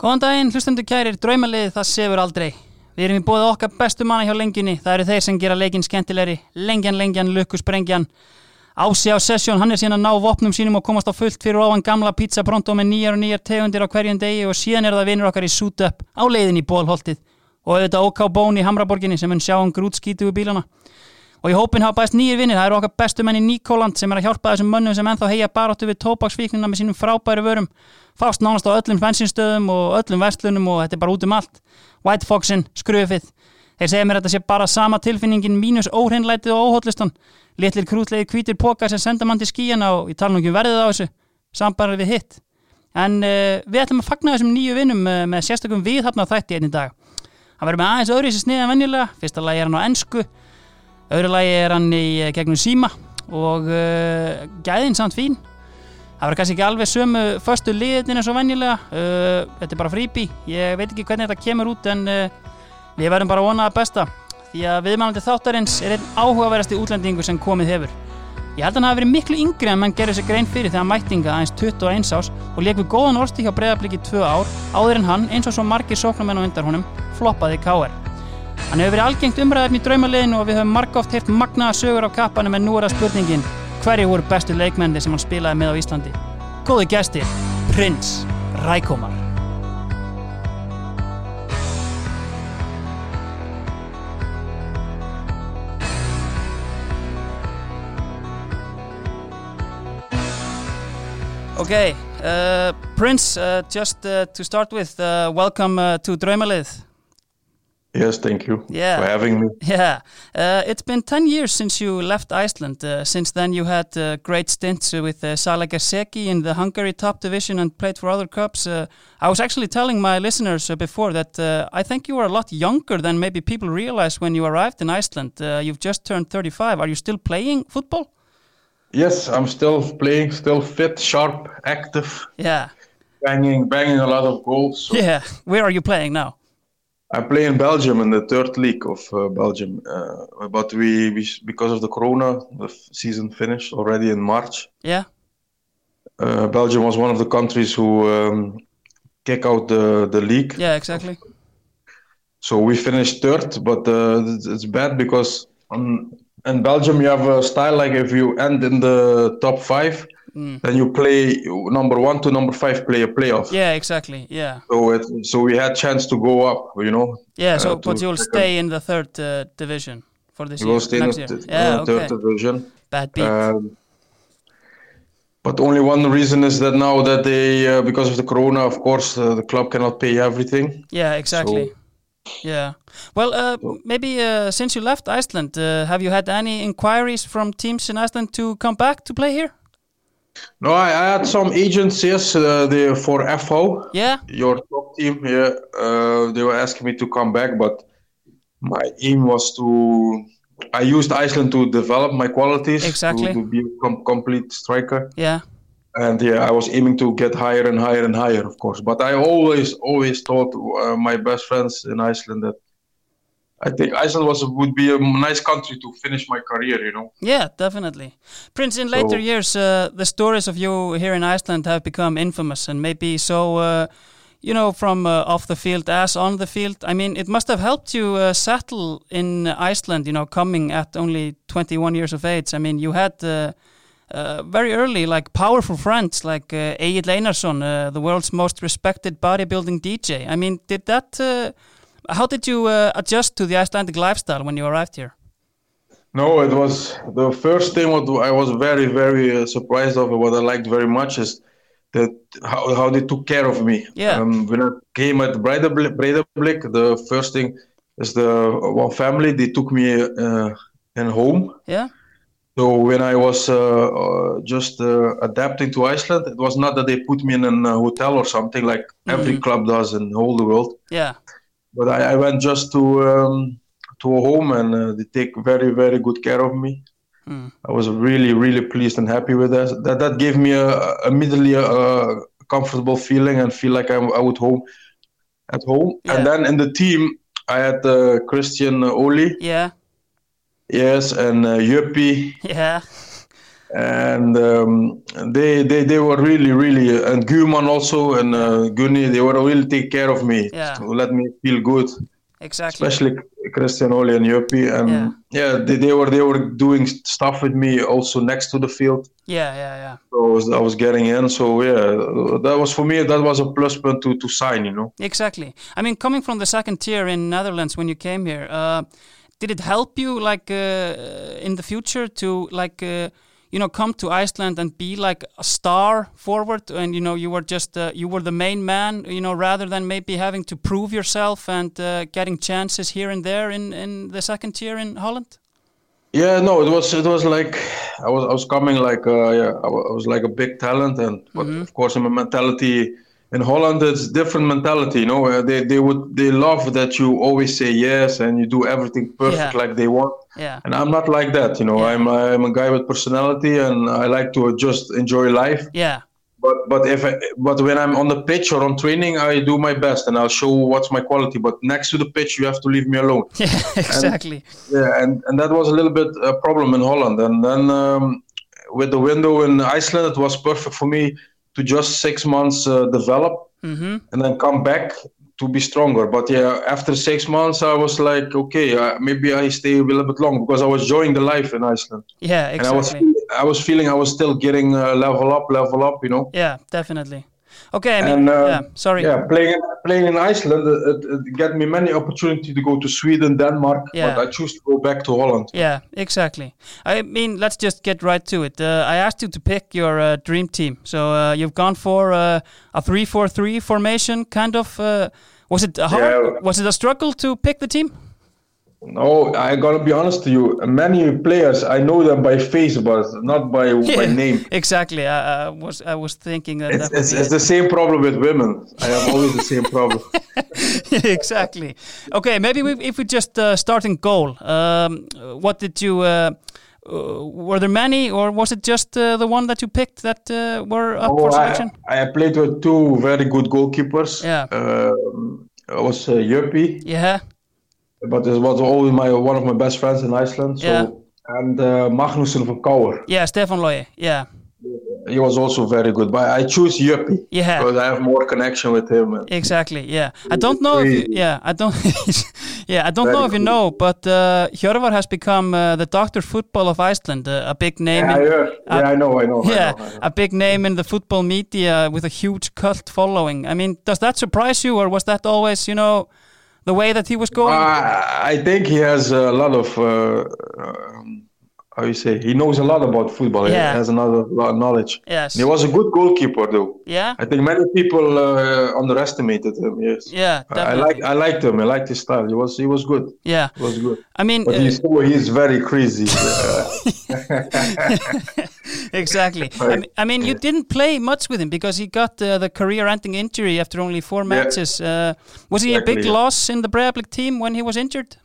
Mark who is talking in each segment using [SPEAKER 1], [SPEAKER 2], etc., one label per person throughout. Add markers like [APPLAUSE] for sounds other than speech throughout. [SPEAKER 1] Góðan daginn, hlustendur kærir, draumalið það sefur aldrei. Við erum í bóðið okkar bestu manna hjá lengjunni, það eru þeir sem gera leikinn skemmtilegri, lengjan, lengjan, lukkusprengjan. Ási á sessjón, hann er síðan að ná vopnum sínum og komast á fullt fyrir ofan gamla pizza pronto með nýjar og nýjar tegundir á hverjum degi og síðan er það vinur okkar í suit up á leiðin í bólholtið og auðvitað OK Bón í Hamraborginni sem mun sjá um grútskítugu bílana. Og í hópin hafa bæst nýjir vinnir, það eru okkar bestu menn í Nikoland sem er að hjálpa þessum mönnum sem ennþá heia baróttu við tópaksvíknina með sínum frábæru vörum, fást nánast á öllum bensinstöðum og öllum vestlunum og þetta er bara út um allt. White Foxin, skröfið. Þeir segja mér að þetta sé bara sama tilfinningin mínus óhreinlætið og óhóllustan. Litlir krútlegir hvítir pókar sem senda mann til skíjana og ég tala nú ekki um verðið á þessu. Sambarðar við hitt. En uh, við ætlum að fagna þessum nýju vinnum uh, með sérstakum viðhafna þætti einn í dag. Hann verður með aðeins öðru sér sniðið en venjulega. Fyrsta lagi er hann á ensku, öðru lagi er hann í eh, gegnum síma og uh, gæðin samt fín. Það verður kannski ekki alveg sömu föstu liðin eins og venjulega. Uh, þetta er bara fríbí. Ég veit ekki hvernig þetta kemur út en uh, við verðum bara að vona það besta. Því að viðmælandi þáttarins er einn áhugaverðasti útlendingu sem komið hefur. Ég held að hann hafi verið miklu yngri en menn gerði sér grein fyrir þegar hann mættinga aðeins 21 ás og leik við góðan orsti hjá breyðabliki tvö ár áður en hann, eins og svo margir sóknarmenn á undan honum, floppaði í KR. Hann hefur verið algengt umræðum í draumaliðinu og við höfum margóft heyrt magnaða sögur af kappanum en nú er það spurningin hverju voru bestu leikmenni sem hann spilaði með á Íslandi. Góði gestir, Prins Rækomar. Okay, uh, Prince, uh, just uh, to start with, uh, welcome uh, to Draumalið.
[SPEAKER 2] Yes, thank you
[SPEAKER 1] Yeah.
[SPEAKER 2] for having me.
[SPEAKER 1] [LAUGHS] Yeah, uh, it's been 10 years since you left Iceland. Uh, since then, you had uh, great stints with uh, Sala Gerseki in the Hungary top division and played for other clubs. Uh, I was actually telling my listeners uh, before that uh, I think you were a lot younger than maybe people realize when you arrived in Iceland. Uh, you've just turned 35. Are you still playing football?
[SPEAKER 2] Yes, I'm still playing, still fit, sharp, active,
[SPEAKER 1] Yeah, [LAUGHS]
[SPEAKER 2] banging, banging a lot of goals. So
[SPEAKER 1] yeah. Where are you playing now?
[SPEAKER 2] I play in Belgium in the third league of uh, Belgium, uh, but we, we because of the Corona, the f- season finished already in March.
[SPEAKER 1] Yeah,
[SPEAKER 2] Uh, Belgium was one of the countries who um, kick out the the league.
[SPEAKER 1] yeah, exactly.
[SPEAKER 2] So we finished third, but uh, it's- it's bad because on, in Belgium you have a style like if you end in the top five, then you play number one to number five play a playoff.
[SPEAKER 1] Mm. Yeah, exactly. Yeah,
[SPEAKER 2] So it, so we had chance to go up, you know.
[SPEAKER 1] yeah. So,
[SPEAKER 2] Uh, to
[SPEAKER 1] but you'll
[SPEAKER 2] second.
[SPEAKER 1] stay in the third uh, division for this
[SPEAKER 2] We
[SPEAKER 1] year.
[SPEAKER 2] will stay in
[SPEAKER 1] next
[SPEAKER 2] the
[SPEAKER 1] year.
[SPEAKER 2] th-
[SPEAKER 1] Yeah,
[SPEAKER 2] uh, third
[SPEAKER 1] okay.
[SPEAKER 2] division.
[SPEAKER 1] Bad beat.
[SPEAKER 2] Um, but only one reason is that now that they uh, because of the corona, of course, uh, the club cannot pay everything.
[SPEAKER 1] Yeah, exactly. yeah. Well, uh, maybe uh, since you left Iceland, uh, have you had any inquiries from teams in Iceland to come back to play here?
[SPEAKER 2] No, I, I had some agents yes, uh, they, for FO.
[SPEAKER 1] Yeah.
[SPEAKER 2] your top team here uh, they were asking me to come back but my aim was to i used iceland to develop my qualities to-
[SPEAKER 1] Exactly.
[SPEAKER 2] to, be a com- complete striker
[SPEAKER 1] Yeah.
[SPEAKER 2] and yeah i was aiming to get higher and higher and higher of course but i always always thought uh, my best friends in iceland that i think iceland was would be a nice country to finish my career you know
[SPEAKER 1] Yeah, definitely. Prince, in later
[SPEAKER 2] So-
[SPEAKER 1] years, uh, the stories of you here in Iceland have become infamous and maybe so, uh, you know, from uh, off the field as on the field. I mean, it must have helped you uh, settle in Iceland, you know, coming at only 21 years of age. I mean, you had uh, uh, very early, like, powerful friends like uh, Egil Einarsson, uh, the world's most respected bodybuilding DJ. I mean, did that, uh, how did you uh, adjust to the Icelandic lifestyle when you arrived here?
[SPEAKER 2] No, it was the first thing what I was very, very uh, surprised of, what I liked very much is that how, how they took care of me.
[SPEAKER 1] Yeah.
[SPEAKER 2] Um, when I came at Breidablik, Breidablik, the first thing is the one family, they took me uh, in home.
[SPEAKER 1] Yeah?
[SPEAKER 2] So when I was uh, uh, just uh, adapting to Iceland, it was not that they put me in a hotel or something like every club does in all the world
[SPEAKER 1] Yeah.
[SPEAKER 2] but I, I went just to um, to a home and uh, they take very very good care of me.
[SPEAKER 1] Mm.
[SPEAKER 2] I was really really pleased and happy with that. That that gave me a, a- immediately a, a comfortable feeling and feel like I'm I would home at home.
[SPEAKER 1] Yeah.
[SPEAKER 2] And then in the team I had uh, Christian Oli,
[SPEAKER 1] Yeah.
[SPEAKER 2] yes, and uh, Yuppie
[SPEAKER 1] Yeah.
[SPEAKER 2] and um, they, they they were really really uh, and Guman also and uh, Guni they were really take care of me
[SPEAKER 1] Yeah.
[SPEAKER 2] to let me feel good
[SPEAKER 1] exactly.
[SPEAKER 2] especially Christian Oli and Yuppie and
[SPEAKER 1] Yeah.
[SPEAKER 2] yeah, they, they were they were doing stuff with me also next to the field
[SPEAKER 1] Yeah, yeah, yeah.
[SPEAKER 2] so I was, I was getting in so yeah that was for me that was a plus point to, to sign you know
[SPEAKER 1] Exactly. I mean, coming from the second tier in Netherlands when you came here, uh, did it help you like uh, in the future to like uh, you know come to Iceland and be like a star forward and you know you were just uh, you were the main man you know rather than maybe having to prove yourself and uh, getting chances here and there in in the second tier in Holland?
[SPEAKER 2] yeah no it was it was like I was I was coming like uh, yeah I wa- I was like a big talent and but of course my mentality in Holland it's different mentality you know uh, they they would they love that you always say yes and you do everything perfect
[SPEAKER 1] Yeah.
[SPEAKER 2] like they want
[SPEAKER 1] Yeah.
[SPEAKER 2] and I'm not like that, you know. I'm I'm a guy with personality, and I like to just enjoy life.
[SPEAKER 1] Yeah. [LAUGHS]
[SPEAKER 2] But but if I, but when I'm on the pitch or on training, I do my best, and I'll show what's my quality. But next to the pitch, you have to leave me alone.
[SPEAKER 1] Yeah. Exactly.
[SPEAKER 2] Yeah, and and that was a little bit a problem in Holland. And then um, with the window in Iceland, it was perfect for me to just six months uh, develop
[SPEAKER 1] Mm-hmm.
[SPEAKER 2] and then come back to be stronger. But yeah, after six months, I was like, okay, uh, maybe I stay a little bit long because I was enjoying the life in Iceland
[SPEAKER 1] Yeah. Exactly.
[SPEAKER 2] and I was I was feeling I was still getting uh, level up, level up, you know.
[SPEAKER 1] yeah. Definitely. Okay. I mean,
[SPEAKER 2] And, uh,
[SPEAKER 1] yeah. Sorry.
[SPEAKER 2] Yeah, playing playing in Iceland, it, it, it got me many opportunity to go to Sweden, Denmark,
[SPEAKER 1] Yeah.
[SPEAKER 2] but I choose to go back to Holland.
[SPEAKER 1] Yeah, exactly. I mean, let's just get right to it. Uh, I asked you to pick your uh, dream team, so uh, you've gone for uh, a three-four-three formation, kind of. Uh, was it a hard,
[SPEAKER 2] Yeah.
[SPEAKER 1] was it a struggle to pick the team?
[SPEAKER 2] No, I gotta be honest to you. Many players I know them by face, but not
[SPEAKER 1] [LAUGHS]
[SPEAKER 2] by by name.
[SPEAKER 1] exactly. I, I was I was thinking that.
[SPEAKER 2] It's,
[SPEAKER 1] that would
[SPEAKER 2] it's,
[SPEAKER 1] be
[SPEAKER 2] it's
[SPEAKER 1] it.
[SPEAKER 2] the same problem with women. I have always the same
[SPEAKER 1] [LAUGHS]
[SPEAKER 2] problem.
[SPEAKER 1] exactly. Okay, maybe we, if we just uh, start in goal. Um, what did you? Uh, uh, were there many, or was it just uh, the one that you picked that uh, were up for
[SPEAKER 2] Oh,
[SPEAKER 1] selection?
[SPEAKER 2] I, I played with two very good goalkeepers.
[SPEAKER 1] Yeah.
[SPEAKER 2] Um, I was uh, Yuppie.
[SPEAKER 1] yeah.
[SPEAKER 2] But it was always my one of my best friends in Iceland. So
[SPEAKER 1] Yeah.
[SPEAKER 2] and uh, Magnussen from Kauer,
[SPEAKER 1] Yeah, Stefan Loye. Yeah.
[SPEAKER 2] he was also very good. But I choose Yuppie
[SPEAKER 1] Yeah.
[SPEAKER 2] because I have more connection with him. And
[SPEAKER 1] Exactly. Yeah. I don't know. If you,
[SPEAKER 2] crazy.
[SPEAKER 1] yeah. I don't. [LAUGHS] yeah. I don't
[SPEAKER 2] Very
[SPEAKER 1] know if you
[SPEAKER 2] cool.
[SPEAKER 1] know, but uh, Hjörvar has become uh, the Doctor Football of Iceland, uh, a big name.
[SPEAKER 2] I,
[SPEAKER 1] in,
[SPEAKER 2] heard, yeah, I know, I know.
[SPEAKER 1] uh, yeah,
[SPEAKER 2] I know, I know.
[SPEAKER 1] a big name in the football media with a huge cult following. I mean, does that surprise you, or was that always, you know, the way that he was going?
[SPEAKER 2] Uh, I think he has a lot of. Uh, um, how you say? He knows a lot about football.
[SPEAKER 1] Yeah.
[SPEAKER 2] He has another lot of knowledge.
[SPEAKER 1] yes.
[SPEAKER 2] He was a good goalkeeper, though.
[SPEAKER 1] yeah.
[SPEAKER 2] I think many people uh, underestimated him. Yes.
[SPEAKER 1] Yeah.
[SPEAKER 2] I- I
[SPEAKER 1] Definitely.
[SPEAKER 2] like. I liked him. I liked his style. He was. He was good.
[SPEAKER 1] yeah.
[SPEAKER 2] He was good.
[SPEAKER 1] I mean,
[SPEAKER 2] But
[SPEAKER 1] uh,
[SPEAKER 2] he's, oh, he's very crazy.
[SPEAKER 1] [LAUGHS]
[SPEAKER 2] Uh, [LAUGHS]
[SPEAKER 1] exactly. I mean, I mean, you didn't play much with him because he got uh, the career-ending injury after only four matches. Uh, was he a big
[SPEAKER 2] Exactly, yeah.
[SPEAKER 1] loss in the Breablik team when he was injured?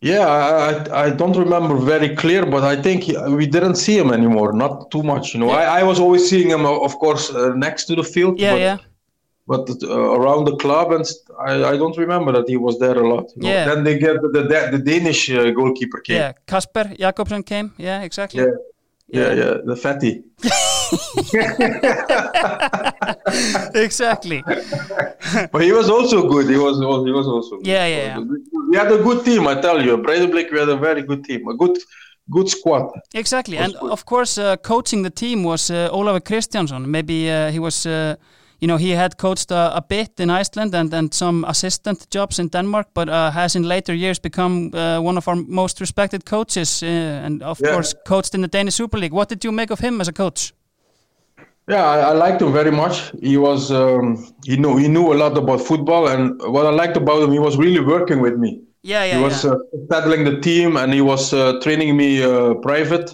[SPEAKER 2] yeah, I, I I don't remember very clear, but I think he, we didn't see him anymore. Not too much, you know. I, I was always seeing him, uh, of course, uh, next to the field.
[SPEAKER 1] Yeah,
[SPEAKER 2] but,
[SPEAKER 1] yeah,
[SPEAKER 2] But uh, around the club, and st- I, I don't remember that he was there a lot. you know.
[SPEAKER 1] Yeah.
[SPEAKER 2] Then they get the the, the Danish uh, goalkeeper came.
[SPEAKER 1] yeah. Kasper Jakobsen came. Yeah, exactly.
[SPEAKER 2] Yeah. yeah, yeah, the fatty.
[SPEAKER 1] [LAUGHS] exactly.
[SPEAKER 2] But he was also good. He was he was also good.
[SPEAKER 1] Yeah, yeah, yeah.
[SPEAKER 2] We had a good team, I tell you. Breidablik, we had a very good team, a good good squad.
[SPEAKER 1] Exactly. And of course, uh, coaching the team was uh, Ólafur Kristjánsson. Maybe uh, he was. Uh, you know, he had coached uh, a, a bit in Iceland and, and some assistant jobs in Denmark, but uh, has in later years become uh, one of our most respected coaches uh, and, of
[SPEAKER 2] Yeah.
[SPEAKER 1] course, coached in the Danish Super League. What did you make of him as a coach?
[SPEAKER 2] Yeah, I, I liked him very much. He was um, he knew he knew a lot about football, and what I liked about him, he was really working with me.
[SPEAKER 1] Yeah, yeah,
[SPEAKER 2] he was
[SPEAKER 1] yeah.
[SPEAKER 2] uh, tackling the team, and he was uh, training me uh, private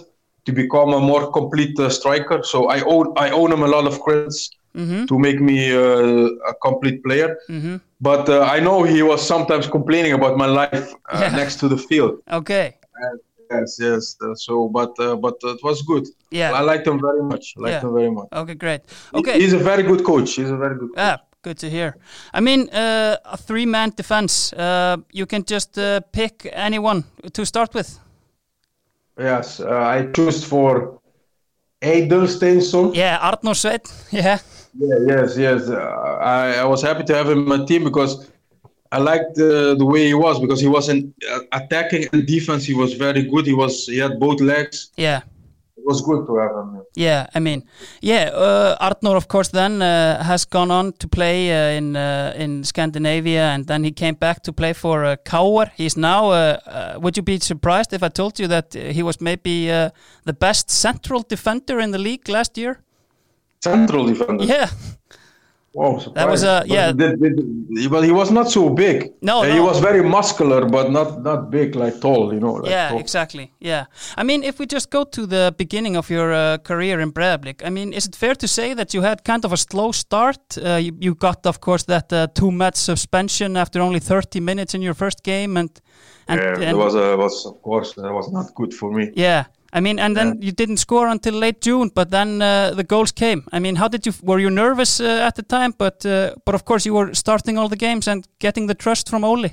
[SPEAKER 2] to become a more complete uh, striker. So I owe I owe him a lot of credits
[SPEAKER 1] Mm-hmm.
[SPEAKER 2] to make me uh, a complete player. But uh, I know he was sometimes complaining about my life uh,
[SPEAKER 1] Yeah. [LAUGHS]
[SPEAKER 2] next to the field.
[SPEAKER 1] Okay.
[SPEAKER 2] Yes, yes. Uh, so, but uh, but it was good.
[SPEAKER 1] Yeah.
[SPEAKER 2] I liked him very much. Liked
[SPEAKER 1] Yeah.
[SPEAKER 2] him very much.
[SPEAKER 1] Okay, great.
[SPEAKER 2] He-
[SPEAKER 1] Okay.
[SPEAKER 2] He's a very good coach. He's a very good coach.
[SPEAKER 1] Yeah, good to hear. I mean, uh, a three man defense. Uh, you can just uh, pick anyone to start with.
[SPEAKER 2] Yeah, Yes, uh, I choose for Edelsteinsson.
[SPEAKER 1] Yeah, Arnór Sveinn, [LAUGHS] yeah.
[SPEAKER 2] Yeah, yes, yes. Uh, I, I was happy to have him in my team because I liked uh, the way he was because he was in uh, attacking and defense. He was very good. He was he had both legs.
[SPEAKER 1] Yeah,
[SPEAKER 2] It was good to have him.
[SPEAKER 1] yeah, I mean, yeah, uh, Arnór, of course, then uh, has gone on to play uh, in uh, in Scandinavia and then he came back to play for uh, Kauer. He's now, uh, uh, would you be surprised if I told you that uh, he was maybe uh, the best central defender in the league last year?
[SPEAKER 2] Central defender.
[SPEAKER 1] Yeah,
[SPEAKER 2] Wow, surprised.
[SPEAKER 1] That was a-
[SPEAKER 2] But
[SPEAKER 1] yeah.
[SPEAKER 2] Did, did, he- but he was not so big.
[SPEAKER 1] No,
[SPEAKER 2] Uh, he
[SPEAKER 1] no.
[SPEAKER 2] was very muscular, but not not big, like tall. You know. Like
[SPEAKER 1] yeah,
[SPEAKER 2] tall.
[SPEAKER 1] exactly. Yeah. I mean, if we just go to the beginning of your uh, career in Breiðablik, I mean, is it fair to say that you had kind of a slow start? Uh, you, you got, of course, that uh, two match suspension after only 30 minutes in your first game, and and,
[SPEAKER 2] Yeah, it
[SPEAKER 1] and-
[SPEAKER 2] was a, was of course that was not good for me.
[SPEAKER 1] yeah. I mean, and then you didn't score until late June, but then uh, the goals came. I mean, how did you? Were you nervous uh, at the time? But uh, but of course, you were starting all the games and getting the trust from Oli.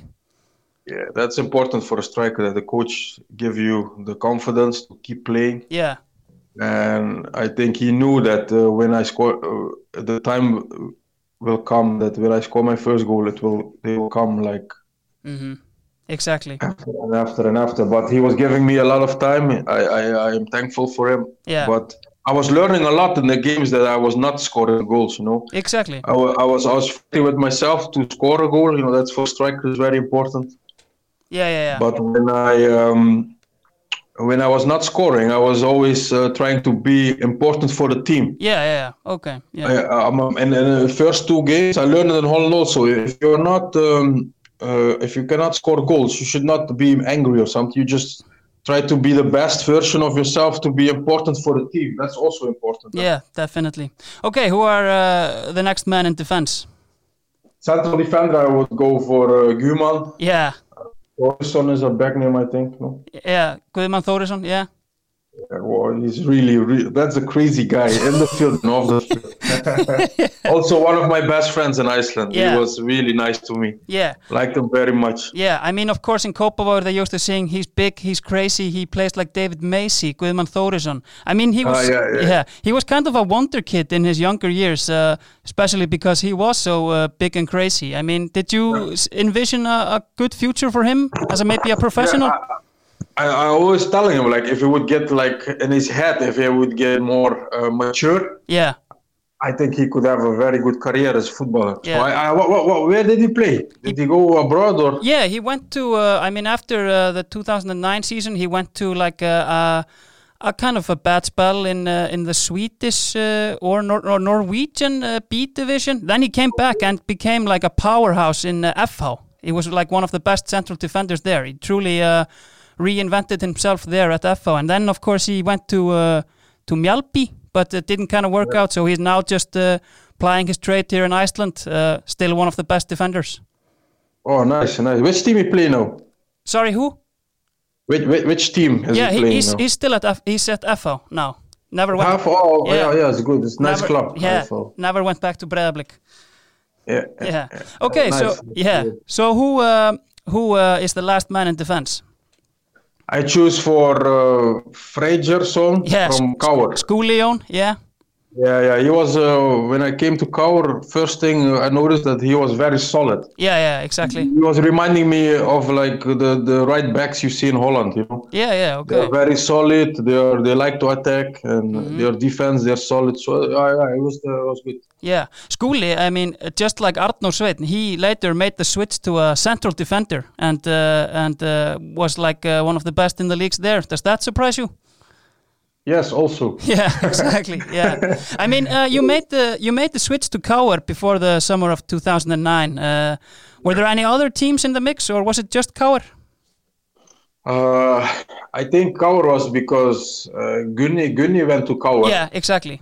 [SPEAKER 2] Yeah, that's important for a striker that the coach give you the confidence to keep playing.
[SPEAKER 1] Yeah.
[SPEAKER 2] and I think he knew that uh, when I score, uh, the time will come that when I score my first goal, it will they will come like
[SPEAKER 1] Mm-hmm. Exactly.
[SPEAKER 2] after and after and after. But he was giving me a lot of time. I I, I am thankful for him.
[SPEAKER 1] Yeah.
[SPEAKER 2] But I was learning a lot in the games that I was not scoring goals. You know,
[SPEAKER 1] Exactly.
[SPEAKER 2] I, wa- I was I was fighting with myself to score a goal. You know, that's for strikers very important.
[SPEAKER 1] Yeah. Yeah. Yeah.
[SPEAKER 2] But when I um, when I was not scoring, I was always uh, trying to be important for the team.
[SPEAKER 1] Yeah, yeah, yeah. Okay. Yeah.
[SPEAKER 2] Yeah, um, um, and, and the first two games I learned in Holland also. If you're not, um, uh, if you cannot score goals, you should not be angry or something. You just try to be the best version of yourself to be important for the team. That's also important.
[SPEAKER 1] Yeah, definitely. Okay, who are uh, the next man in defense?
[SPEAKER 2] Central defender, I would go for uh, Guman.
[SPEAKER 1] Yeah.
[SPEAKER 2] Olsson is a back name, I think. No,
[SPEAKER 1] Yeah, Guðman Þórisson, yeah.
[SPEAKER 2] Yeah, well, he's really, re- that's a crazy guy in the field and off the field. also, one of my best friends in Iceland.
[SPEAKER 1] Yeah.
[SPEAKER 2] He was really nice to me.
[SPEAKER 1] Yeah.
[SPEAKER 2] Liked him very much.
[SPEAKER 1] Yeah, I mean, of course, in Kópavogur they used to sing, he's big, he's crazy, he plays like David Macy, Guðman Þórisson. I mean, he was,
[SPEAKER 2] Ah, yeah, yeah.
[SPEAKER 1] he was kind of a wonder kid in his younger years, uh, especially because he was so uh, big and crazy. I mean, did you s envision a, a good future for him as a, maybe a professional?
[SPEAKER 2] I, I always telling him like if he would get like in his head if he would get more uh, mature
[SPEAKER 1] Yeah.
[SPEAKER 2] i think he could have a very good career as a footballer
[SPEAKER 1] Yeah.
[SPEAKER 2] so I, I, what, where did he play did he go abroad or
[SPEAKER 1] Yeah, he went to. Uh, I mean, after uh, the 2009 season, he went to like a, a, a kind of a bad spell in uh, in the Swedish uh, or, Nor- or Norwegian uh, B division. Then he came back and became like a powerhouse in uh, FH. He was like one of the best central defenders there. He truly uh, reinvented himself there at FH. And then, of course, he went to uh, to Mjallby, but it didn't kind of work out. So he's now just uh, plying his trade here in Iceland. Uh, still one of the best defenders.
[SPEAKER 2] oh nice nice which team he play now
[SPEAKER 1] Sorry, who?
[SPEAKER 2] which, which, which team is
[SPEAKER 1] yeah,
[SPEAKER 2] he
[SPEAKER 1] he,
[SPEAKER 2] playing
[SPEAKER 1] he's,
[SPEAKER 2] now
[SPEAKER 1] he's still at F, he's at FO now. Never went.
[SPEAKER 2] Half, oh, yeah. yeah, it's good. It's nice
[SPEAKER 1] never,
[SPEAKER 2] club.
[SPEAKER 1] Yeah,
[SPEAKER 2] Half-
[SPEAKER 1] never went back to Breiðablik.
[SPEAKER 2] yeah.
[SPEAKER 1] Yeah. Okay,
[SPEAKER 2] nice.
[SPEAKER 1] so yeah, so who uh, who uh, is the last man in defense?
[SPEAKER 2] I choose for uh, Freygerson
[SPEAKER 1] Yeah,
[SPEAKER 2] from
[SPEAKER 1] Sk-
[SPEAKER 2] Coward.
[SPEAKER 1] Skúlión, yeah,
[SPEAKER 2] Yeah, yeah. He was uh, when I came to Coward. First thing I noticed that he was very solid.
[SPEAKER 1] yeah, yeah, exactly.
[SPEAKER 2] He was reminding me of like the, the right backs you see in Holland. You know,
[SPEAKER 1] Yeah, yeah,
[SPEAKER 2] they
[SPEAKER 1] okay,
[SPEAKER 2] are very solid. They are they like to attack and their defense they're solid. So yeah, yeah, it was uh, it was good.
[SPEAKER 1] yeah. Skúli, I mean, uh, just like Arnór Sveinn, he later made the switch to a central defender and uh, and uh, was like uh, one of the best in the leagues there. Does that surprise you?
[SPEAKER 2] Yes, also.
[SPEAKER 1] [LAUGHS] Yeah, exactly. Yeah, I mean, uh, you made the you made the switch to Coward before the summer of 2009. Uh, were there any other teams in the mix, or was it just Coward?
[SPEAKER 2] Uh, I think Kaur was because uh, Gunni Gunni went to Kaur
[SPEAKER 1] Yeah, exactly.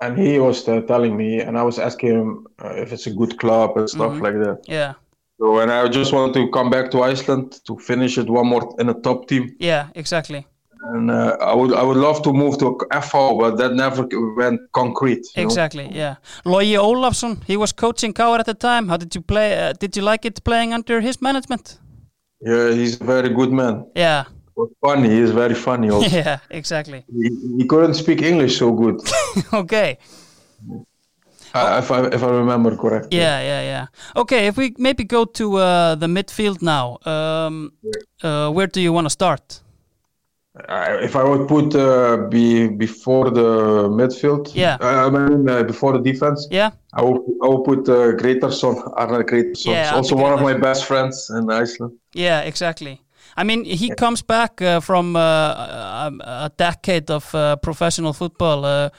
[SPEAKER 2] and he was uh, telling me and I was asking him uh, if it's a good club and stuff like that.
[SPEAKER 1] Yeah,
[SPEAKER 2] So and I just wanted to come back to Iceland to finish it one more in a top team.
[SPEAKER 1] yeah, exactly,
[SPEAKER 2] And uh, I would I would love to move to FO, but that never went concrete. you know?
[SPEAKER 1] exactly. Yeah, Logi Olafsson, he was coaching Coward at the time. How did you play? Uh, did you like it playing under his management?
[SPEAKER 2] Yeah, he's a very good man.
[SPEAKER 1] Yeah, [LAUGHS]
[SPEAKER 2] But was funny. He's very funny. Also.
[SPEAKER 1] yeah, exactly. [LAUGHS]
[SPEAKER 2] he, he couldn't speak English so good,
[SPEAKER 1] okay.
[SPEAKER 2] I- if I if I remember correctly.
[SPEAKER 1] Yeah, yeah, yeah. Okay, if we maybe go to uh, the midfield now, um, uh, where do you want to start?
[SPEAKER 2] I, if I would put uh, be before the midfield,
[SPEAKER 1] Yeah.
[SPEAKER 2] uh, I mean uh, before the defense,
[SPEAKER 1] Yeah,
[SPEAKER 2] I will I will put uh, Gretarson, Arne Gretarson,
[SPEAKER 1] Yeah, Arne
[SPEAKER 2] also one of my
[SPEAKER 1] Gretarson.
[SPEAKER 2] best friends in Iceland.
[SPEAKER 1] yeah, exactly. I mean, he comes back uh, from uh, a, a decade of uh, professional football. Uh,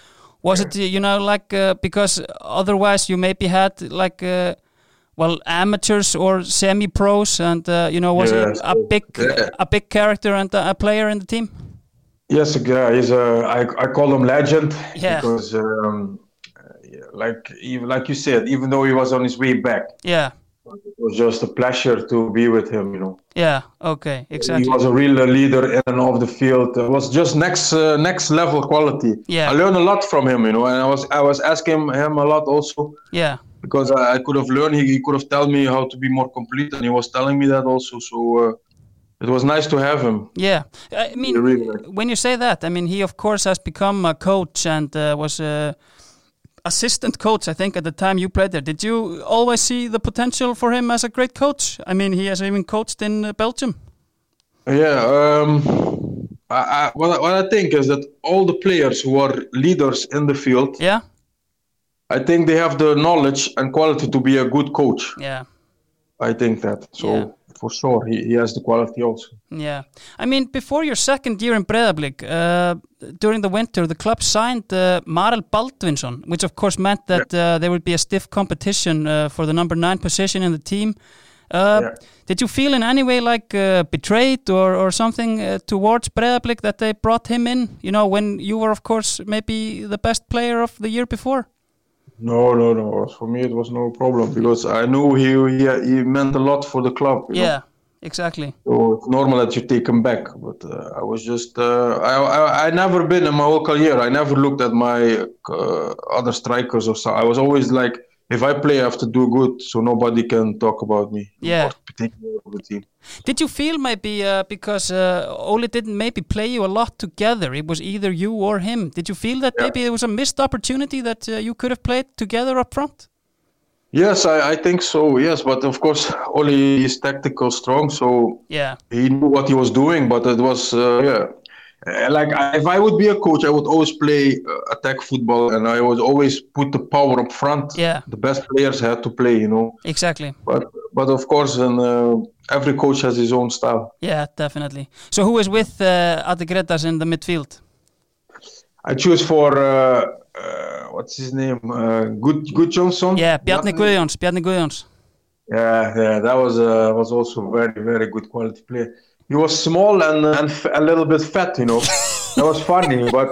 [SPEAKER 1] was it, you know, like uh, because otherwise you maybe had like, uh, well, amateurs or semi-pros, and uh, you know, was he
[SPEAKER 2] Yes.
[SPEAKER 1] a big,
[SPEAKER 2] Yeah.
[SPEAKER 1] a big character and a, a player in the team?
[SPEAKER 2] Yes, yeah, he's a I I call him legend
[SPEAKER 1] Yeah.
[SPEAKER 2] because um, yeah, like even like you said, even though he was on his way back,
[SPEAKER 1] Yeah,
[SPEAKER 2] it was just a pleasure to be with him. You know.
[SPEAKER 1] yeah. Okay, exactly.
[SPEAKER 2] He was a real uh, leader in and off the field. It was just next uh, next level quality.
[SPEAKER 1] Yeah.
[SPEAKER 2] I learned a lot from him, you know, and I was I was asking him a lot also
[SPEAKER 1] Yeah,
[SPEAKER 2] because I, I could have learned. He, he could have told me how to be more complete, and he was telling me that also. So uh, it was nice to have him.
[SPEAKER 1] yeah. I mean, uh,
[SPEAKER 2] He really was.
[SPEAKER 1] when you say that, I mean he of course has become a coach and uh, was a assistant coach. I think at the time you played there, did you always see the potential for him as a great coach? I mean, he has even coached in uh, Belgium.
[SPEAKER 2] Yeah. Um, I, I, what, I- what I think is that all the players who are leaders in the field,
[SPEAKER 1] Yeah,
[SPEAKER 2] I think they have the knowledge and quality to be a good coach.
[SPEAKER 1] yeah,
[SPEAKER 2] I think that. So
[SPEAKER 1] Yeah.
[SPEAKER 2] for sure, he, he has the quality also.
[SPEAKER 1] yeah. I mean, before your second year in Breiðablik, uh, during the winter, the club signed uh, Marel Baldvinsson, which of course meant that uh, there would be a stiff competition uh, for the number nine position in the team. Uh,
[SPEAKER 2] Yeah.
[SPEAKER 1] Did you feel in any way like uh, betrayed or, or something uh, towards Breðablik that they brought him in? You know, when you were, of course, maybe the best player of the year before?
[SPEAKER 2] No, no, no. For me, it was no problem because I knew he he, he meant a lot for the club. you know.
[SPEAKER 1] Yeah, exactly.
[SPEAKER 2] So it's normal that you take him back. But uh, I was just uh, I, I I never been in my whole career. I never looked at my uh, other strikers or so. I was always like, if I play, I have to do good, so nobody can talk about me.
[SPEAKER 1] Yeah.
[SPEAKER 2] Or particular of the team.
[SPEAKER 1] Did you feel maybe uh, because uh, Ole didn't maybe play you a lot together? It was either you or him. Did you feel that
[SPEAKER 2] Yeah.
[SPEAKER 1] maybe it was a missed opportunity that uh, you could have played together up front?
[SPEAKER 2] Yes, I, I think so. Yes, but of course, [LAUGHS] Oli is tactical strong, so
[SPEAKER 1] Yeah,
[SPEAKER 2] he knew what he was doing, but it was uh, yeah. Uh, Like I- if I would be a coach, I would always play uh, attack football, and I would always put the power up front.
[SPEAKER 1] Yeah.
[SPEAKER 2] the best players had to play, you know.
[SPEAKER 1] exactly.
[SPEAKER 2] But but of course, and uh, every coach has his own style.
[SPEAKER 1] Yeah, definitely. So who is with uh, Adi Gretas in the midfield?
[SPEAKER 2] I choose for uh, uh, what's his name, uh, Good Good Johnson.
[SPEAKER 1] Yeah, Bjarni Guðjóns, Bjarni Guðjóns.
[SPEAKER 2] Yeah, yeah, that was uh, was also very very good quality player. He was small and and f- a little bit fat, you know. that was funny, [LAUGHS] but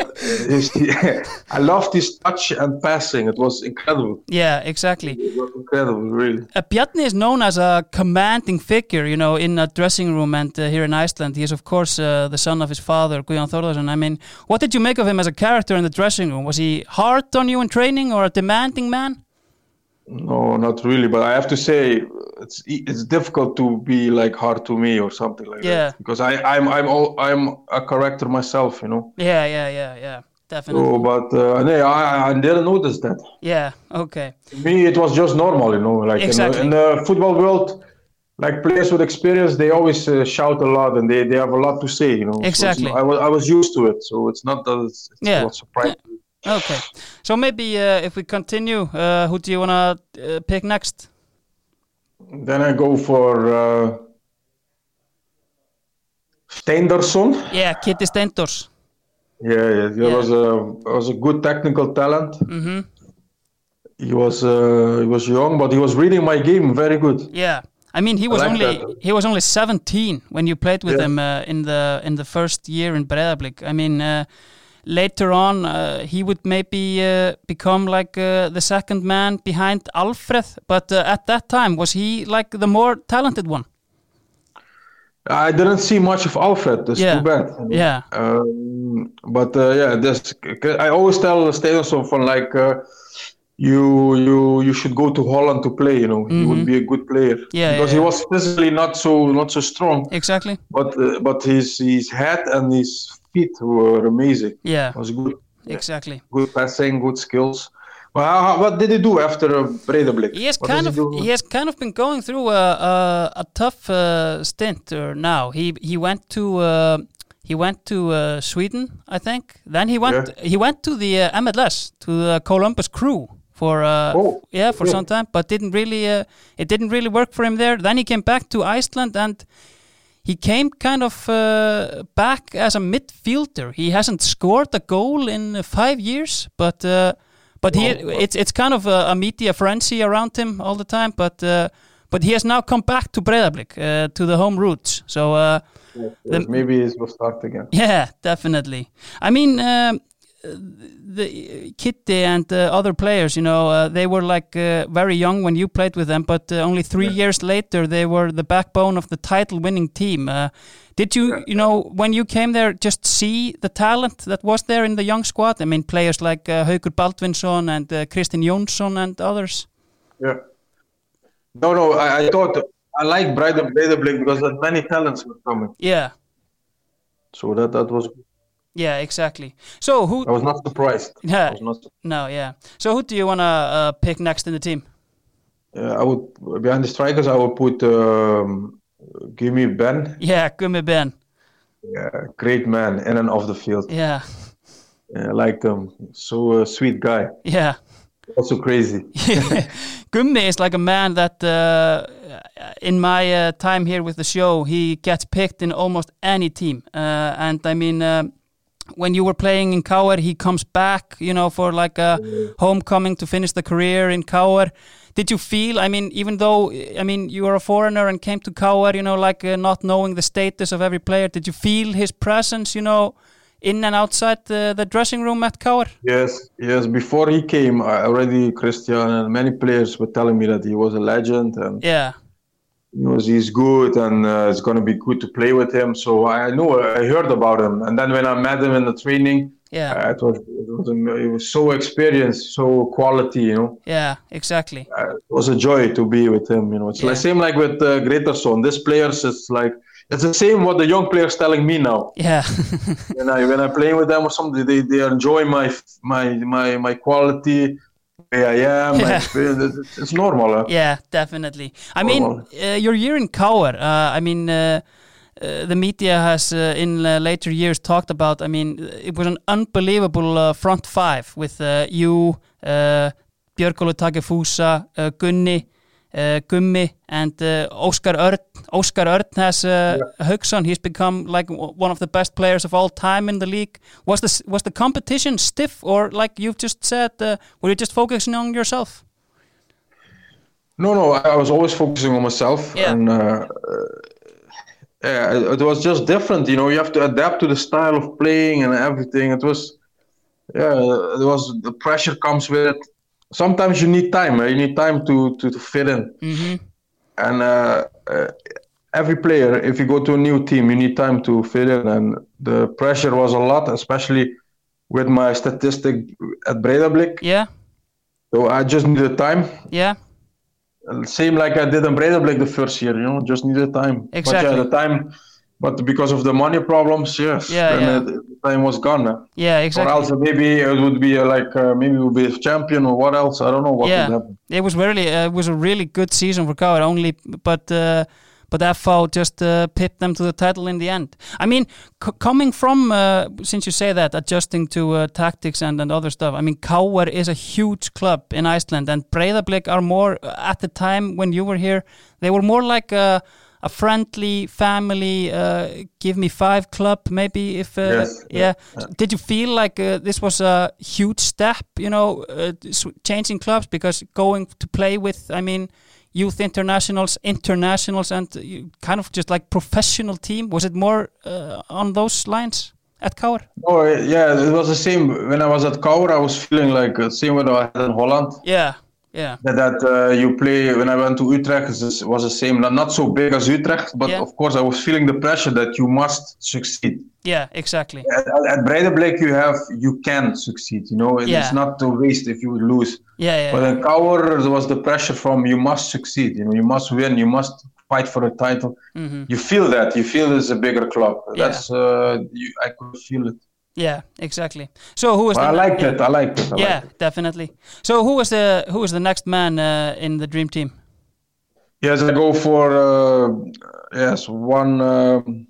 [SPEAKER 2] his, [LAUGHS] I loved his touch and passing. It was incredible,
[SPEAKER 1] Yeah, exactly.
[SPEAKER 2] it was incredible, really.
[SPEAKER 1] Uh, Bjarni is known as a commanding figure, you know, in a dressing room and uh, here in Iceland. He is, of course, uh, the son of his father, Guðjón Þórðarson. I mean, what did you make of him as a character in the dressing room? Was he hard on you in training or a demanding man?
[SPEAKER 2] No, not really, but I have to say it's e- it's difficult to be like hard to me or something like
[SPEAKER 1] Yeah.
[SPEAKER 2] that because I I'm I'm all, I'm a character myself, you know.
[SPEAKER 1] Yeah, yeah, yeah, yeah, definitely.
[SPEAKER 2] So, but uh, no, I, I didn't notice that.
[SPEAKER 1] Yeah, okay.
[SPEAKER 2] me it was just normal you know like
[SPEAKER 1] Exactly.
[SPEAKER 2] in, the, in the football world like players with experience they always uh, shout a lot and they, they have a lot to say you know So it's
[SPEAKER 1] Exactly.
[SPEAKER 2] not- I, was, I was used to it so it's not that it's, it's
[SPEAKER 1] Yeah.
[SPEAKER 2] not surprising
[SPEAKER 1] Okay. So maybe uh, if we continue, uh, who do you want to uh, pick next?
[SPEAKER 2] then i go for uh, Steinderson
[SPEAKER 1] Yeah, Kitty Stendors.
[SPEAKER 2] yeah, yeah he
[SPEAKER 1] Yeah.
[SPEAKER 2] was a was a good technical talent
[SPEAKER 1] Mhm.
[SPEAKER 2] he was uh, he was young but he was reading my game very good
[SPEAKER 1] Yeah, I mean he was
[SPEAKER 2] like
[SPEAKER 1] only
[SPEAKER 2] that.
[SPEAKER 1] he was only 17 when you played with
[SPEAKER 2] Yeah.
[SPEAKER 1] him uh, in the in the first year in Breiðablik. I mean, uh, later on uh, he would maybe uh, become like uh, the second man behind Alfred, but uh, at that time was he like the more talented one?
[SPEAKER 2] I didn't see much of Alfred. That's
[SPEAKER 1] Yeah.
[SPEAKER 2] too bad.
[SPEAKER 1] Yeah.
[SPEAKER 2] Um, but uh, yeah, this I always tell Stevenson from like uh, you you you should go to Holland to play. You know, he would be a good player
[SPEAKER 1] Mm-hmm. Yeah,
[SPEAKER 2] because
[SPEAKER 1] yeah,
[SPEAKER 2] he
[SPEAKER 1] yeah.
[SPEAKER 2] was physically not so not so strong,
[SPEAKER 1] Exactly.
[SPEAKER 2] but uh, but his his head and his feet were amazing.
[SPEAKER 1] Yeah,
[SPEAKER 2] It was good,
[SPEAKER 1] exactly.
[SPEAKER 2] good passing, good skills. Well, how, how- what did he do after uh, Breidablik?
[SPEAKER 1] He has
[SPEAKER 2] What
[SPEAKER 1] kind
[SPEAKER 2] does
[SPEAKER 1] of
[SPEAKER 2] he do?
[SPEAKER 1] he has kind of been going through a a, a tough uh, stint or now. He he went to uh, he went to uh, Sweden, I think. Then he went he went to the uh, MLS to the Columbus Crew for uh,
[SPEAKER 2] Oh,
[SPEAKER 1] yeah for
[SPEAKER 2] okay.
[SPEAKER 1] some time, but didn't really uh, it didn't really work for him there. Then he came back to Iceland and. He came kind of uh, back as a midfielder. He hasn't scored a goal in uh, five years, but uh, but he it's it's kind of a, a media frenzy around him all the time. But uh, but he has now come back to Breiðablik uh, to the home roots. So uh, the-
[SPEAKER 2] Maybe he will start again.
[SPEAKER 1] yeah, definitely. I mean, um, the Kitty and uh, other players, you know, uh, they were like uh, very young when you played with them, but uh, only three years later they were the backbone of the title-winning team. Uh, did you, you know, when you came there, just see the talent that was there in the young squad? I mean, players like uh, Haukur Baldvinsson and uh, Kristin Jónsson and others.
[SPEAKER 2] Yeah. No, no. I, I thought I like Breidab- Breidablik because there are many talents were coming.
[SPEAKER 1] Yeah,
[SPEAKER 2] So that that was
[SPEAKER 1] yeah, exactly. So who?
[SPEAKER 2] I was not surprised. I
[SPEAKER 1] [LAUGHS] Yeah,
[SPEAKER 2] was not.
[SPEAKER 1] no, yeah. So who do you want to uh, pick next in the team?
[SPEAKER 2] Uh, I would behind the strikers. I would put um, give me Ben,
[SPEAKER 1] Yeah, Gummi Ben.
[SPEAKER 2] yeah, great man in and off the field.
[SPEAKER 1] Yeah,
[SPEAKER 2] Yeah, like um, so uh, sweet guy,
[SPEAKER 1] yeah. [LAUGHS]
[SPEAKER 2] also crazy.
[SPEAKER 1] Gummi is like a man that, uh, in my uh, time here with the show, he gets picked in almost any team. Uh, and I mean, um when you were playing in Kaur, he comes back, you know, for like a homecoming to finish the career in Kaur. Did you feel, I mean, even though, I mean, you are a foreigner and came to Kaur, you know, like uh, not knowing the status of every player, did you feel his presence, you know, in and outside the, the dressing room at Kaur?
[SPEAKER 2] Yes, yes. Before he came, I already Christian and many players were telling me that he was a legend and
[SPEAKER 1] Yeah,
[SPEAKER 2] he was, he's good and uh, it's gonna be good to play with him. So I knew I heard about him, and then when I met him in the training,
[SPEAKER 1] yeah.
[SPEAKER 2] uh, it was it was, am- it was so experienced, so quality, you know.
[SPEAKER 1] Yeah, exactly.
[SPEAKER 2] uh, it was a joy to be with him. You know, it's
[SPEAKER 1] Yeah.
[SPEAKER 2] like same like with uh, Greterson. This players, it's like it's the same what the young players telling me
[SPEAKER 1] [LAUGHS]
[SPEAKER 2] now.
[SPEAKER 1] Yeah,
[SPEAKER 2] When I when I play with them or something, they, they enjoy my my my my quality, where I am. my
[SPEAKER 1] Yeah.
[SPEAKER 2] experience. It's- it's, it's normal. Huh?
[SPEAKER 1] yeah, definitely. I mean,
[SPEAKER 2] Well-
[SPEAKER 1] uh, your year in Kaur, uh, I mean, uh, uh, the media has uh, in uh, later years talked about, I mean, it was an unbelievable uh, front five with uh, you, uh, Björgólu Takefusa, uh, Gunni, uh, Gummi, and uh, Oscar Örn. Oscar Örn has uh, Hugson. He's become like w- one of the best players of all time in the league. Was the, s- was the competition stiff or like you've just said, uh, were you just focusing on yourself?
[SPEAKER 2] No, no. I I was always focusing on myself,
[SPEAKER 1] Yeah.
[SPEAKER 2] and uh, uh, yeah, it- it was just different. You know, you have to adapt to the style of playing and everything. It was, yeah, it was the pressure comes with it. Sometimes you need time. eh, You need time to to, to fit in.
[SPEAKER 1] Mm-hmm.
[SPEAKER 2] And uh, uh, every player, if you go to a new team, you need time to fit in. And the pressure was a lot, especially with my statistic at Breiðablik.
[SPEAKER 1] Yeah,
[SPEAKER 2] So I just needed time
[SPEAKER 1] yeah.
[SPEAKER 2] same like I did in Breidablik the first year, you know, just needed time. But
[SPEAKER 1] Exactly.
[SPEAKER 2] yeah, the time, but because of the money problems, yes,
[SPEAKER 1] Yeah,
[SPEAKER 2] then
[SPEAKER 1] yeah.
[SPEAKER 2] uh, the time was gone. uh.
[SPEAKER 1] Yeah,
[SPEAKER 2] Or
[SPEAKER 1] exactly.
[SPEAKER 2] else maybe it would be uh, like uh, maybe we'll be champion or what else? I don't know what
[SPEAKER 1] yeah,
[SPEAKER 2] would happen.
[SPEAKER 1] it was really uh, it was a really good season for Coward only, but uh, but FO just uh, pipped them to the title in the end. I mean, c- coming from uh, since you say that adjusting to uh, tactics and, and other stuff. I mean, Coward is a huge club in Iceland, and Breiðablik are more uh, at the time when you were here. They were more like a, a friendly family. Uh, give me five club, maybe if uh,
[SPEAKER 2] Yes,
[SPEAKER 1] yeah. So Did you feel like uh, this was a huge step, you know, uh, s- changing clubs because going to play with, I mean, youth internationals, internationals, and uh, you kind of just like professional team? Was it more uh, on those lines at Kaur?
[SPEAKER 2] Oh uh, yeah, it was the same when I was at Kaur. I was feeling like uh, same when I had in Holland.
[SPEAKER 1] Yeah, Yeah.
[SPEAKER 2] that, that uh, you play when I went to Utrecht is- is- was the same. Not, not so big as Utrecht, but
[SPEAKER 1] Yeah.
[SPEAKER 2] of course I was feeling the pressure that you must succeed.
[SPEAKER 1] Yeah. Exactly.
[SPEAKER 2] At, at at Breidablik you have you can succeed. You know, and
[SPEAKER 1] Yeah.
[SPEAKER 2] it's not to waste if you lose.
[SPEAKER 1] Yeah.
[SPEAKER 2] But
[SPEAKER 1] Yeah.
[SPEAKER 2] in Cower there was the pressure from you must succeed. You know, you must win. You must fight for a title.
[SPEAKER 1] Mhm.
[SPEAKER 2] You feel that. You feel it's a bigger club.
[SPEAKER 1] Yeah.
[SPEAKER 2] That's uh, you, I could feel it.
[SPEAKER 1] Yeah. Exactly. So who is?
[SPEAKER 2] But I
[SPEAKER 1] the-
[SPEAKER 2] liked it. I liked it. I
[SPEAKER 1] Yeah,
[SPEAKER 2] Liked it.
[SPEAKER 1] definitely. So who is the who is the next man uh, in the dream team?
[SPEAKER 2] Yes, I go for uh, yes one um,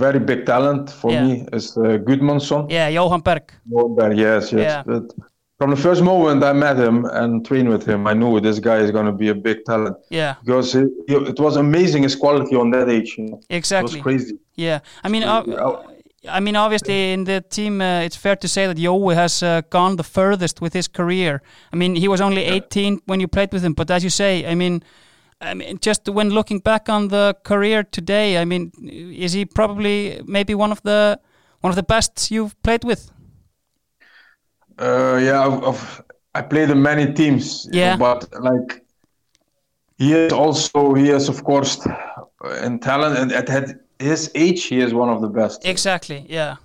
[SPEAKER 2] very big talent for
[SPEAKER 1] Yeah.
[SPEAKER 2] me is uh, Gudmundsson.
[SPEAKER 1] Yeah, Johan Berg.
[SPEAKER 2] Moberg, Yes, yes.
[SPEAKER 1] Yeah.
[SPEAKER 2] That- from the first moment I met him and trained with him, I knew this guy is going to be a big talent
[SPEAKER 1] Yeah,
[SPEAKER 2] because he, he, it was amazing his quality on that age. You know. It was
[SPEAKER 1] exactly.
[SPEAKER 2] crazy.
[SPEAKER 1] Yeah, I mean, uh, I mean, obviously in the team, uh, it's fair to say that Joe has uh, gone the furthest with his career. I mean, he was only 18 when you played with him, but as you say, I mean. I mean, just when looking back on the career today, I mean, is he probably maybe one of the one of the best you've played with?
[SPEAKER 2] Uh, yeah, I've, I've, I played in many teams. you
[SPEAKER 1] Yeah.
[SPEAKER 2] know, but like, he is also he is of course uh, in talent and at, at his age he is one of the best.
[SPEAKER 1] Exactly. Yeah.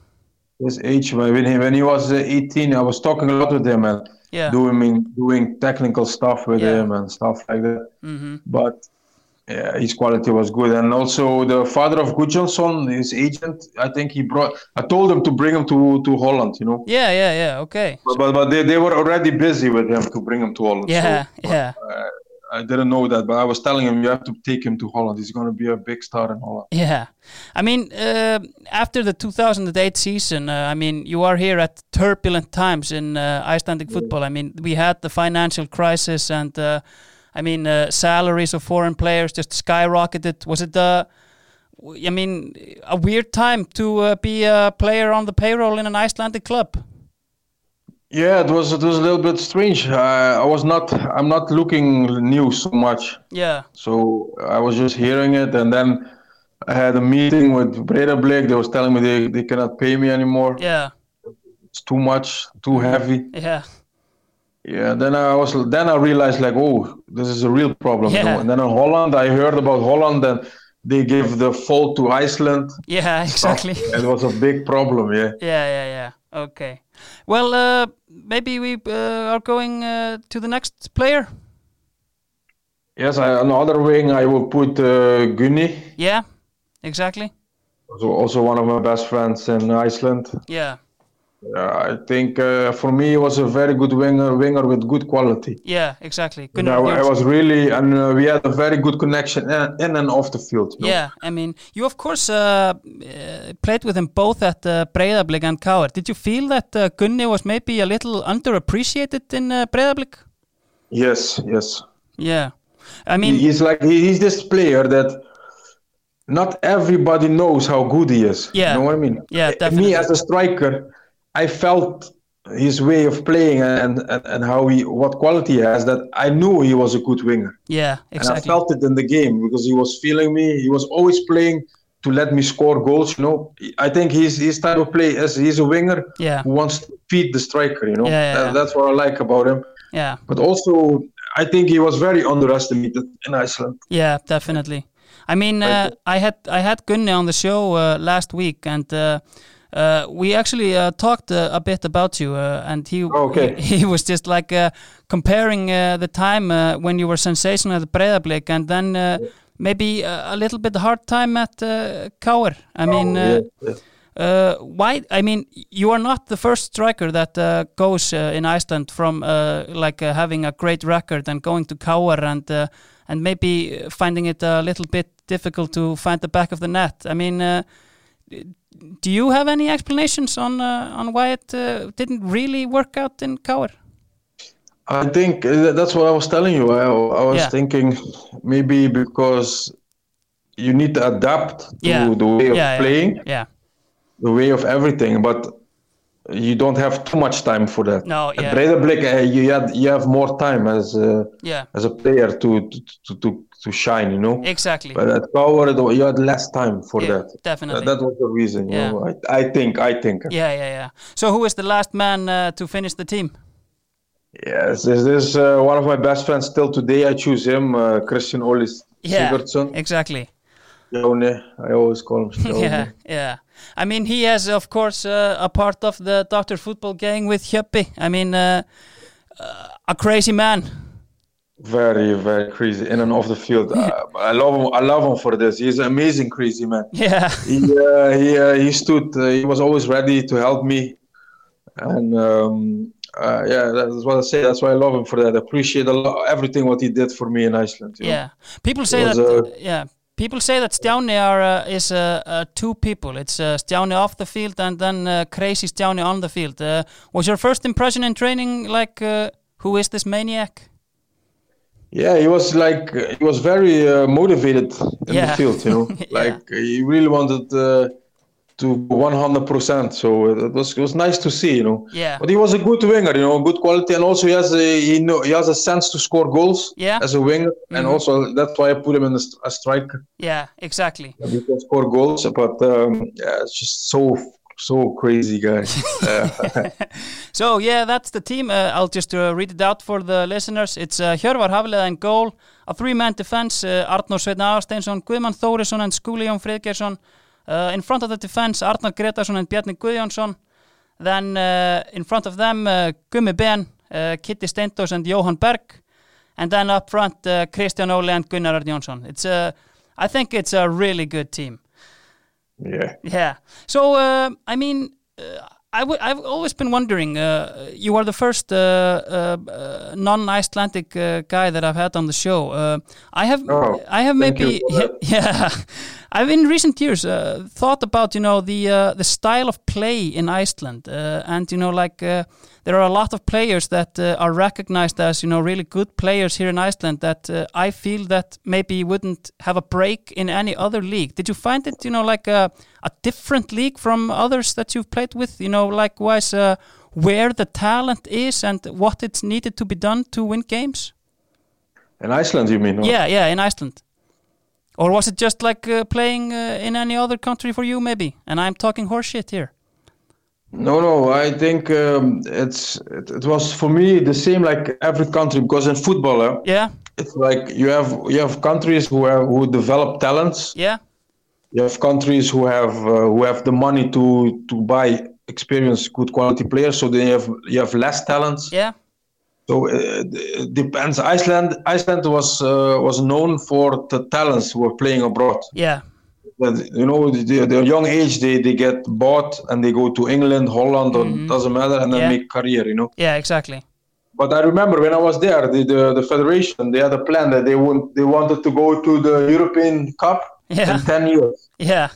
[SPEAKER 2] his age when when he, when he was uh, 18 i was talking a lot with him and
[SPEAKER 1] Yeah.
[SPEAKER 2] doing doing technical stuff with
[SPEAKER 1] Yeah. Mm-hmm.
[SPEAKER 2] him and stuff like that but yeah, his quality was good and also the father of Gudjonsson, his agent i think he brought i told him to bring him to to holland you know
[SPEAKER 1] Yeah. Yeah. Yeah. Okay.
[SPEAKER 2] but, but, but they, they were already busy with him to bring him to holland so
[SPEAKER 1] Yeah. Yeah.
[SPEAKER 2] i didn't know that but i was telling him you have to take him to holland he's going to be a big star in holland
[SPEAKER 1] Yeah, I mean, uh, after the 2008 season, uh, I mean, you are here at turbulent times in uh, Icelandic football. I mean, we had the financial crisis, and uh, I mean, uh, salaries of foreign players just skyrocketed. Was it, uh, w- I mean, a weird time to uh, be a player on the payroll in an Icelandic club?
[SPEAKER 2] yeah it was it was a little bit strange uh, i was not i'm not looking news so much
[SPEAKER 1] Yeah,
[SPEAKER 2] So I was just hearing it, and then I had a meeting with Breda Blake. They was telling me they, they cannot pay me anymore.
[SPEAKER 1] yeah,
[SPEAKER 2] It's too much, too heavy.
[SPEAKER 1] yeah, [LAUGHS]
[SPEAKER 2] Yeah. Then I was then I realized like, oh, this is a real problem. you
[SPEAKER 1] Yeah.
[SPEAKER 2] know. And then in Holland, I heard about Holland, and they give the fault to Iceland.
[SPEAKER 1] yeah, exactly.
[SPEAKER 2] [LAUGHS]
[SPEAKER 1] [LAUGHS]
[SPEAKER 2] It was a big problem. Yeah.
[SPEAKER 1] Yeah, yeah, yeah. Okay. Well, uh, maybe we uh, are going uh, to the next player.
[SPEAKER 2] Yes. I, on the other wing, I will put uh, Gunni,
[SPEAKER 1] Yeah, exactly.
[SPEAKER 2] also, also one of my best friends in Iceland.
[SPEAKER 1] Yeah,
[SPEAKER 2] Uh, I think uh, for me, he was a very good winger, winger with good quality.
[SPEAKER 1] yeah, exactly. Good.
[SPEAKER 2] No, I was really, and uh, we had a very good connection in, in and off the field. you know.
[SPEAKER 1] Yeah, I mean, you of course uh, uh, played with him both at uh, Breiðablik and Káur. Did you feel that uh, Gunni was maybe a little underappreciated in uh, Breiðablik?
[SPEAKER 2] Yes, yes.
[SPEAKER 1] Yeah, I
[SPEAKER 2] He-
[SPEAKER 1] mean,
[SPEAKER 2] He's like he- he's this player that not everybody knows how good he is.
[SPEAKER 1] Yeah.
[SPEAKER 2] You know what I mean?
[SPEAKER 1] Yeah,
[SPEAKER 2] Uh,
[SPEAKER 1] definitely.
[SPEAKER 2] Me as a striker, I felt his way of playing and, and, and how he what quality he has that I knew he was a good winger.
[SPEAKER 1] yeah,
[SPEAKER 2] And I
[SPEAKER 1] exactly.
[SPEAKER 2] felt it in the game because he was feeling me. He was always playing to let me score goals. You know, I think he's his type of play as he's a winger
[SPEAKER 1] Yeah,
[SPEAKER 2] who wants to feed the striker. You know,
[SPEAKER 1] Yeah, yeah,
[SPEAKER 2] That-
[SPEAKER 1] yeah.
[SPEAKER 2] that's what I like about him.
[SPEAKER 1] yeah.
[SPEAKER 2] But also, I think he was very underestimated in Iceland.
[SPEAKER 1] Yeah, definitely. I mean, uh, I had I had Gunni on the show uh, last week, and uh, uh, we actually uh, talked uh, a bit about you, uh, and he,
[SPEAKER 2] Oh, Okay.
[SPEAKER 1] [LAUGHS] he he was just like uh, comparing uh, the time uh, when you were sensational at Breiðablik, and then uh, maybe uh, a little bit hard time at uh, Káir. I mean, uh,
[SPEAKER 2] Oh, Yeah.
[SPEAKER 1] uh, why? I mean, you are not the first striker that uh, goes uh, in Iceland from uh, like uh, having a great record and going to Kaur and uh, and maybe uh, finding it a little bit difficult to find the back of the net. I mean, uh, do you have any explanations on uh, on why it uh, didn't really work out in Kaur?
[SPEAKER 2] I think uh, that's what I was telling you. I, I was
[SPEAKER 1] Yeah.
[SPEAKER 2] thinking maybe because you need to adapt to
[SPEAKER 1] Yeah.
[SPEAKER 2] the way of
[SPEAKER 1] Yeah, yeah.
[SPEAKER 2] playing,
[SPEAKER 1] Yeah,
[SPEAKER 2] the way of everything, but you don't have too much time for that.
[SPEAKER 1] No,
[SPEAKER 2] At
[SPEAKER 1] yeah.
[SPEAKER 2] Breiðablik, uh, you, had, you have more time as a,
[SPEAKER 1] yeah,
[SPEAKER 2] as a player to, to, to, to, to shine, you know?
[SPEAKER 1] exactly.
[SPEAKER 2] But at Power, it wa- you had less time for
[SPEAKER 1] Yeah,
[SPEAKER 2] that.
[SPEAKER 1] definitely.
[SPEAKER 2] That was the reason. you
[SPEAKER 1] Yeah.
[SPEAKER 2] know. I, I think. I think.
[SPEAKER 1] Yeah, yeah, yeah. So who is the last man uh, to finish the team?
[SPEAKER 2] Yes, this is uh, one of my best friends still today. I choose him, uh, Christian Olis
[SPEAKER 1] Yeah,
[SPEAKER 2] Sigurdsson.
[SPEAKER 1] exactly.
[SPEAKER 2] Stjone, I always call him Stjone.
[SPEAKER 1] Yeah, yeah. I mean, he has, of course, uh, a part of the Doctor Football gang with Hjöppi. I mean, uh, uh, a crazy man. [LAUGHS]
[SPEAKER 2] Very, very crazy in and off the field. Uh, I love him. I love him for this. He's an amazing, crazy man.
[SPEAKER 1] Yeah,
[SPEAKER 2] He uh, he, uh, he stood. Uh, he was always ready to help me, and um, uh, yeah, that's what I say. That's why I love him for that. I appreciate a lot, everything what he did for me in Iceland. you know.
[SPEAKER 1] yeah. People say
[SPEAKER 2] was,
[SPEAKER 1] that.
[SPEAKER 2] uh,
[SPEAKER 1] yeah, people say that Stjáni are uh, is uh, uh, two people. It's uh, Stjáni off the field and then uh, crazy Stjáni on the field. Uh, was your first impression in training like, uh, who is this maniac?
[SPEAKER 2] Yeah, he was like uh, he was very uh, motivated in
[SPEAKER 1] Yeah.
[SPEAKER 2] the field, you know.
[SPEAKER 1] [LAUGHS] Yeah.
[SPEAKER 2] Like he really wanted uh, to 100%. So it was it was nice to see, you know.
[SPEAKER 1] Yeah.
[SPEAKER 2] But he was a good winger, you know, good quality, and also he has a he know he has a sense to score goals
[SPEAKER 1] Yeah. Mm-hmm.
[SPEAKER 2] as a winger, and also that's why I put him in a, st- a striker.
[SPEAKER 1] Yeah, exactly.
[SPEAKER 2] He can score goals, but um, yeah, it's just so so crazy
[SPEAKER 1] [LAUGHS]
[SPEAKER 2] guy. Uh, Yeah.
[SPEAKER 1] So yeah, that's the team. Uh, I'll just uh, read it out for the listeners. It's uh, Hjörvar Hafleða in goal, a three-man defense, uh, Arnór Sveinn Aðarsteinsson, Guðmann Þórisson and Skúli Jón Friðgeirsson. Uh, in front of the defense, Arnar Gretarsson and Bjarni Guðjónsson. Then uh, in front of them, uh, Gummi Ben, uh, Kitty Steindos and Johan Berg. And then up front, uh, Christian Ole and Gunnar Arn Jónsson. It's, uh, I think it's a really good team.
[SPEAKER 2] yeah.
[SPEAKER 1] Yeah. So uh, I mean, uh, I w- I've always been wondering. Uh, you are the first uh, uh, uh, non-Icelandic uh, guy that I've had on the show. Uh, I have,
[SPEAKER 2] Oh,
[SPEAKER 1] I have
[SPEAKER 2] thank you
[SPEAKER 1] maybe,
[SPEAKER 2] for that.
[SPEAKER 1] [LAUGHS] yeah. I've in recent years uh, thought about you know the uh, the style of play in Iceland, uh, and you know like uh, there are a lot of players that uh, are recognized as you know really good players here in Iceland that uh, I feel that maybe wouldn't have a break in any other league. Did you find it you know like a, a different league from others that you've played with? You know likewise uh, where the talent is and what it's needed to be done to win games.
[SPEAKER 2] In Iceland, you mean? or-
[SPEAKER 1] Yeah, yeah, in Iceland. Or was it just like uh, playing uh, in any other country for you, maybe? And I'm talking horseshit here.
[SPEAKER 2] No, no. I think um, it's it, it was for me the same like every country because in football, eh,
[SPEAKER 1] Yeah,
[SPEAKER 2] it's like you have you have countries who have, who develop talents.
[SPEAKER 1] yeah,
[SPEAKER 2] You have countries who have uh, who have the money to to buy experienced good quality players. So they have you have less talents.
[SPEAKER 1] yeah,
[SPEAKER 2] So uh, it depends. Iceland Iceland was uh, was known for the talents who were playing abroad.
[SPEAKER 1] yeah,
[SPEAKER 2] But, you know, the, the young age they, they get bought and they go to England, Holland, or doesn't matter, and then
[SPEAKER 1] Mm-hmm. Yeah.
[SPEAKER 2] make career. You know.
[SPEAKER 1] yeah, exactly. [LAUGHS]
[SPEAKER 2] But I remember when I was there, the, the, the federation they had a plan that they want they wanted to go to the European Cup
[SPEAKER 1] Yeah.
[SPEAKER 2] in ten years,
[SPEAKER 1] Yeah,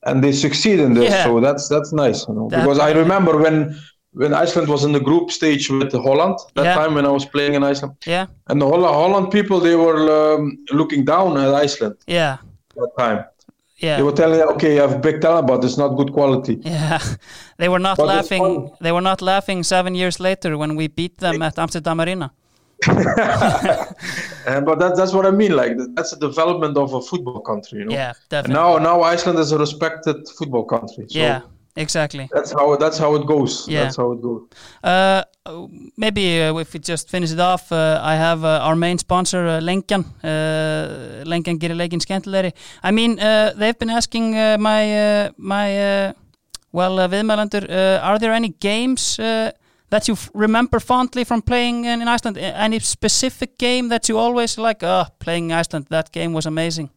[SPEAKER 2] and they succeed in this.
[SPEAKER 1] Yeah.
[SPEAKER 2] So that's that's nice, you know.
[SPEAKER 1] That-
[SPEAKER 2] because I remember when when Iceland was in the group stage with Holland that
[SPEAKER 1] Yeah.
[SPEAKER 2] time when I was playing in Iceland,
[SPEAKER 1] yeah,
[SPEAKER 2] and the Holla- Holland people they were um, looking down at Iceland
[SPEAKER 1] yeah,
[SPEAKER 2] that time. They
[SPEAKER 1] yeah.
[SPEAKER 2] were telling, okay, you have big talent, but it's not good quality.
[SPEAKER 1] [LAUGHS] Yeah, they were not
[SPEAKER 2] But it's
[SPEAKER 1] laughing.
[SPEAKER 2] fun.
[SPEAKER 1] They were not laughing seven years later when we beat them at Amsterdam Arena.
[SPEAKER 2] And, but that, that's what I mean. Like that's the development of a football country, you know.
[SPEAKER 1] Yeah,
[SPEAKER 2] And
[SPEAKER 1] definitely.
[SPEAKER 2] now, now Iceland is a respected football country. So
[SPEAKER 1] Yeah, exactly.
[SPEAKER 2] That's how that's how it goes.
[SPEAKER 1] Yeah.
[SPEAKER 2] That's how it goes.
[SPEAKER 1] Uh, maybe uh, if we just finish it off, uh, I have uh, our main sponsor, uh, Lenkan, uh, Lenkan Girilegin Skentilegri. I mean, uh, they've been asking uh, my, uh, my uh, well, uh, viðmælendur, uh, are there any games uh, that you f- remember fondly from playing in, in Iceland? A- Any specific game that you always like, oh, playing in Iceland, that game was amazing?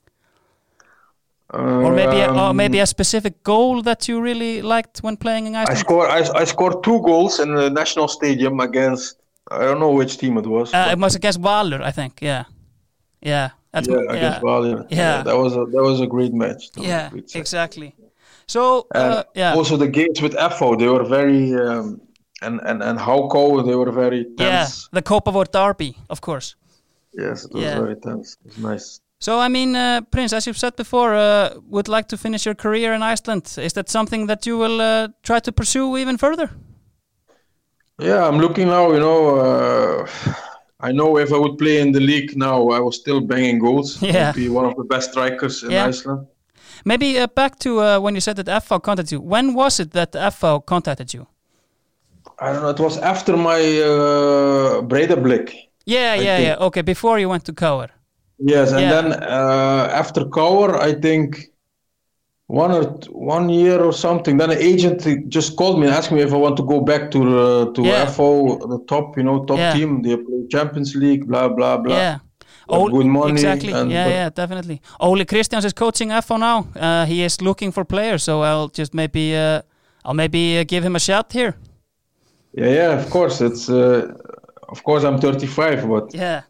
[SPEAKER 1] Or maybe, a, or
[SPEAKER 2] Um,
[SPEAKER 1] maybe a specific goal that you really liked when playing in
[SPEAKER 2] I
[SPEAKER 1] Iceland?
[SPEAKER 2] scored I, I scored two goals in the national stadium against I don't know which team it was.
[SPEAKER 1] Uh,
[SPEAKER 2] but
[SPEAKER 1] it was against Valur, I think. Yeah, yeah, that's
[SPEAKER 2] yeah, against Bayern.
[SPEAKER 1] Yeah.
[SPEAKER 2] that was a that was a great match. That was a
[SPEAKER 1] yeah,
[SPEAKER 2] great set.
[SPEAKER 1] exactly. So
[SPEAKER 2] And
[SPEAKER 1] uh, yeah,
[SPEAKER 2] Also the games with FO, they were very um, and and and Hauko, they were very
[SPEAKER 1] yeah,
[SPEAKER 2] tense.
[SPEAKER 1] the Copavort derby, of course.
[SPEAKER 2] Yes, it was
[SPEAKER 1] Yeah.
[SPEAKER 2] very tense. It was nice.
[SPEAKER 1] So I mean, uh, Prince, as you've said before, uh, would like to finish your career in Iceland. Is that something that you will uh, try to pursue even further?
[SPEAKER 2] Yeah, I'm looking now. You know, uh, I know if I would play in the league now, I was still banging goals.
[SPEAKER 1] Yeah.
[SPEAKER 2] I'd be one of the best strikers in
[SPEAKER 1] Yeah.
[SPEAKER 2] Iceland.
[SPEAKER 1] Maybe uh, back to uh, when you said that FV contacted you. When was it that FV contacted you?
[SPEAKER 2] I don't know. It was after my uh, Breidablick.
[SPEAKER 1] Yeah, yeah, yeah. Okay, before you went to Cower.
[SPEAKER 2] Yes, and
[SPEAKER 1] Yeah.
[SPEAKER 2] then uh, after Cower, I think one or t- one year or something. Then an agent just called me and asked me if I want to go back to uh, to
[SPEAKER 1] Yeah.
[SPEAKER 2] FO, the top, you know, top
[SPEAKER 1] Yeah.
[SPEAKER 2] team. They play Champions League, blah blah blah.
[SPEAKER 1] Yeah.
[SPEAKER 2] Got good money
[SPEAKER 1] exactly.
[SPEAKER 2] and-
[SPEAKER 1] yeah,
[SPEAKER 2] but-
[SPEAKER 1] yeah, definitely. Ole Christians is coaching FO now. Uh, he is looking for players, so I'll just maybe uh, I'll maybe uh, give him a shout here.
[SPEAKER 2] yeah, yeah, Of course, it's uh, of course I'm 35, but
[SPEAKER 1] Yeah.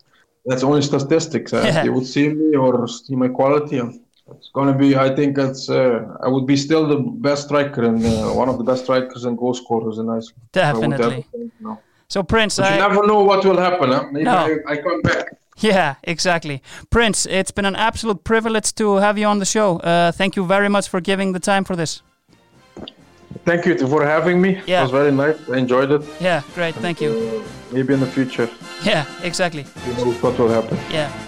[SPEAKER 2] that's only statistics. Uh,
[SPEAKER 1] Yeah.
[SPEAKER 2] They would see me or see my quality. and It's gonna be. I think it's. Uh, I would be still the best striker and uh, one of the best strikers and goal scorers in Iceland. I would
[SPEAKER 1] Definitely.
[SPEAKER 2] definitely know.
[SPEAKER 1] So Prince,
[SPEAKER 2] You
[SPEAKER 1] I,
[SPEAKER 2] never know what will happen. Huh? Maybe
[SPEAKER 1] No.
[SPEAKER 2] I, I come back.
[SPEAKER 1] yeah, exactly. Prince, it's been an absolute privilege to have you on the show. Uh, thank you very much for giving the time for this.
[SPEAKER 2] Thank you for having me.
[SPEAKER 1] Yeah.
[SPEAKER 2] It was very nice. I enjoyed it.
[SPEAKER 1] Yeah, great. Thank you.
[SPEAKER 2] Maybe in the future,
[SPEAKER 1] Yeah, exactly.
[SPEAKER 2] you know what will happen.
[SPEAKER 1] Yeah.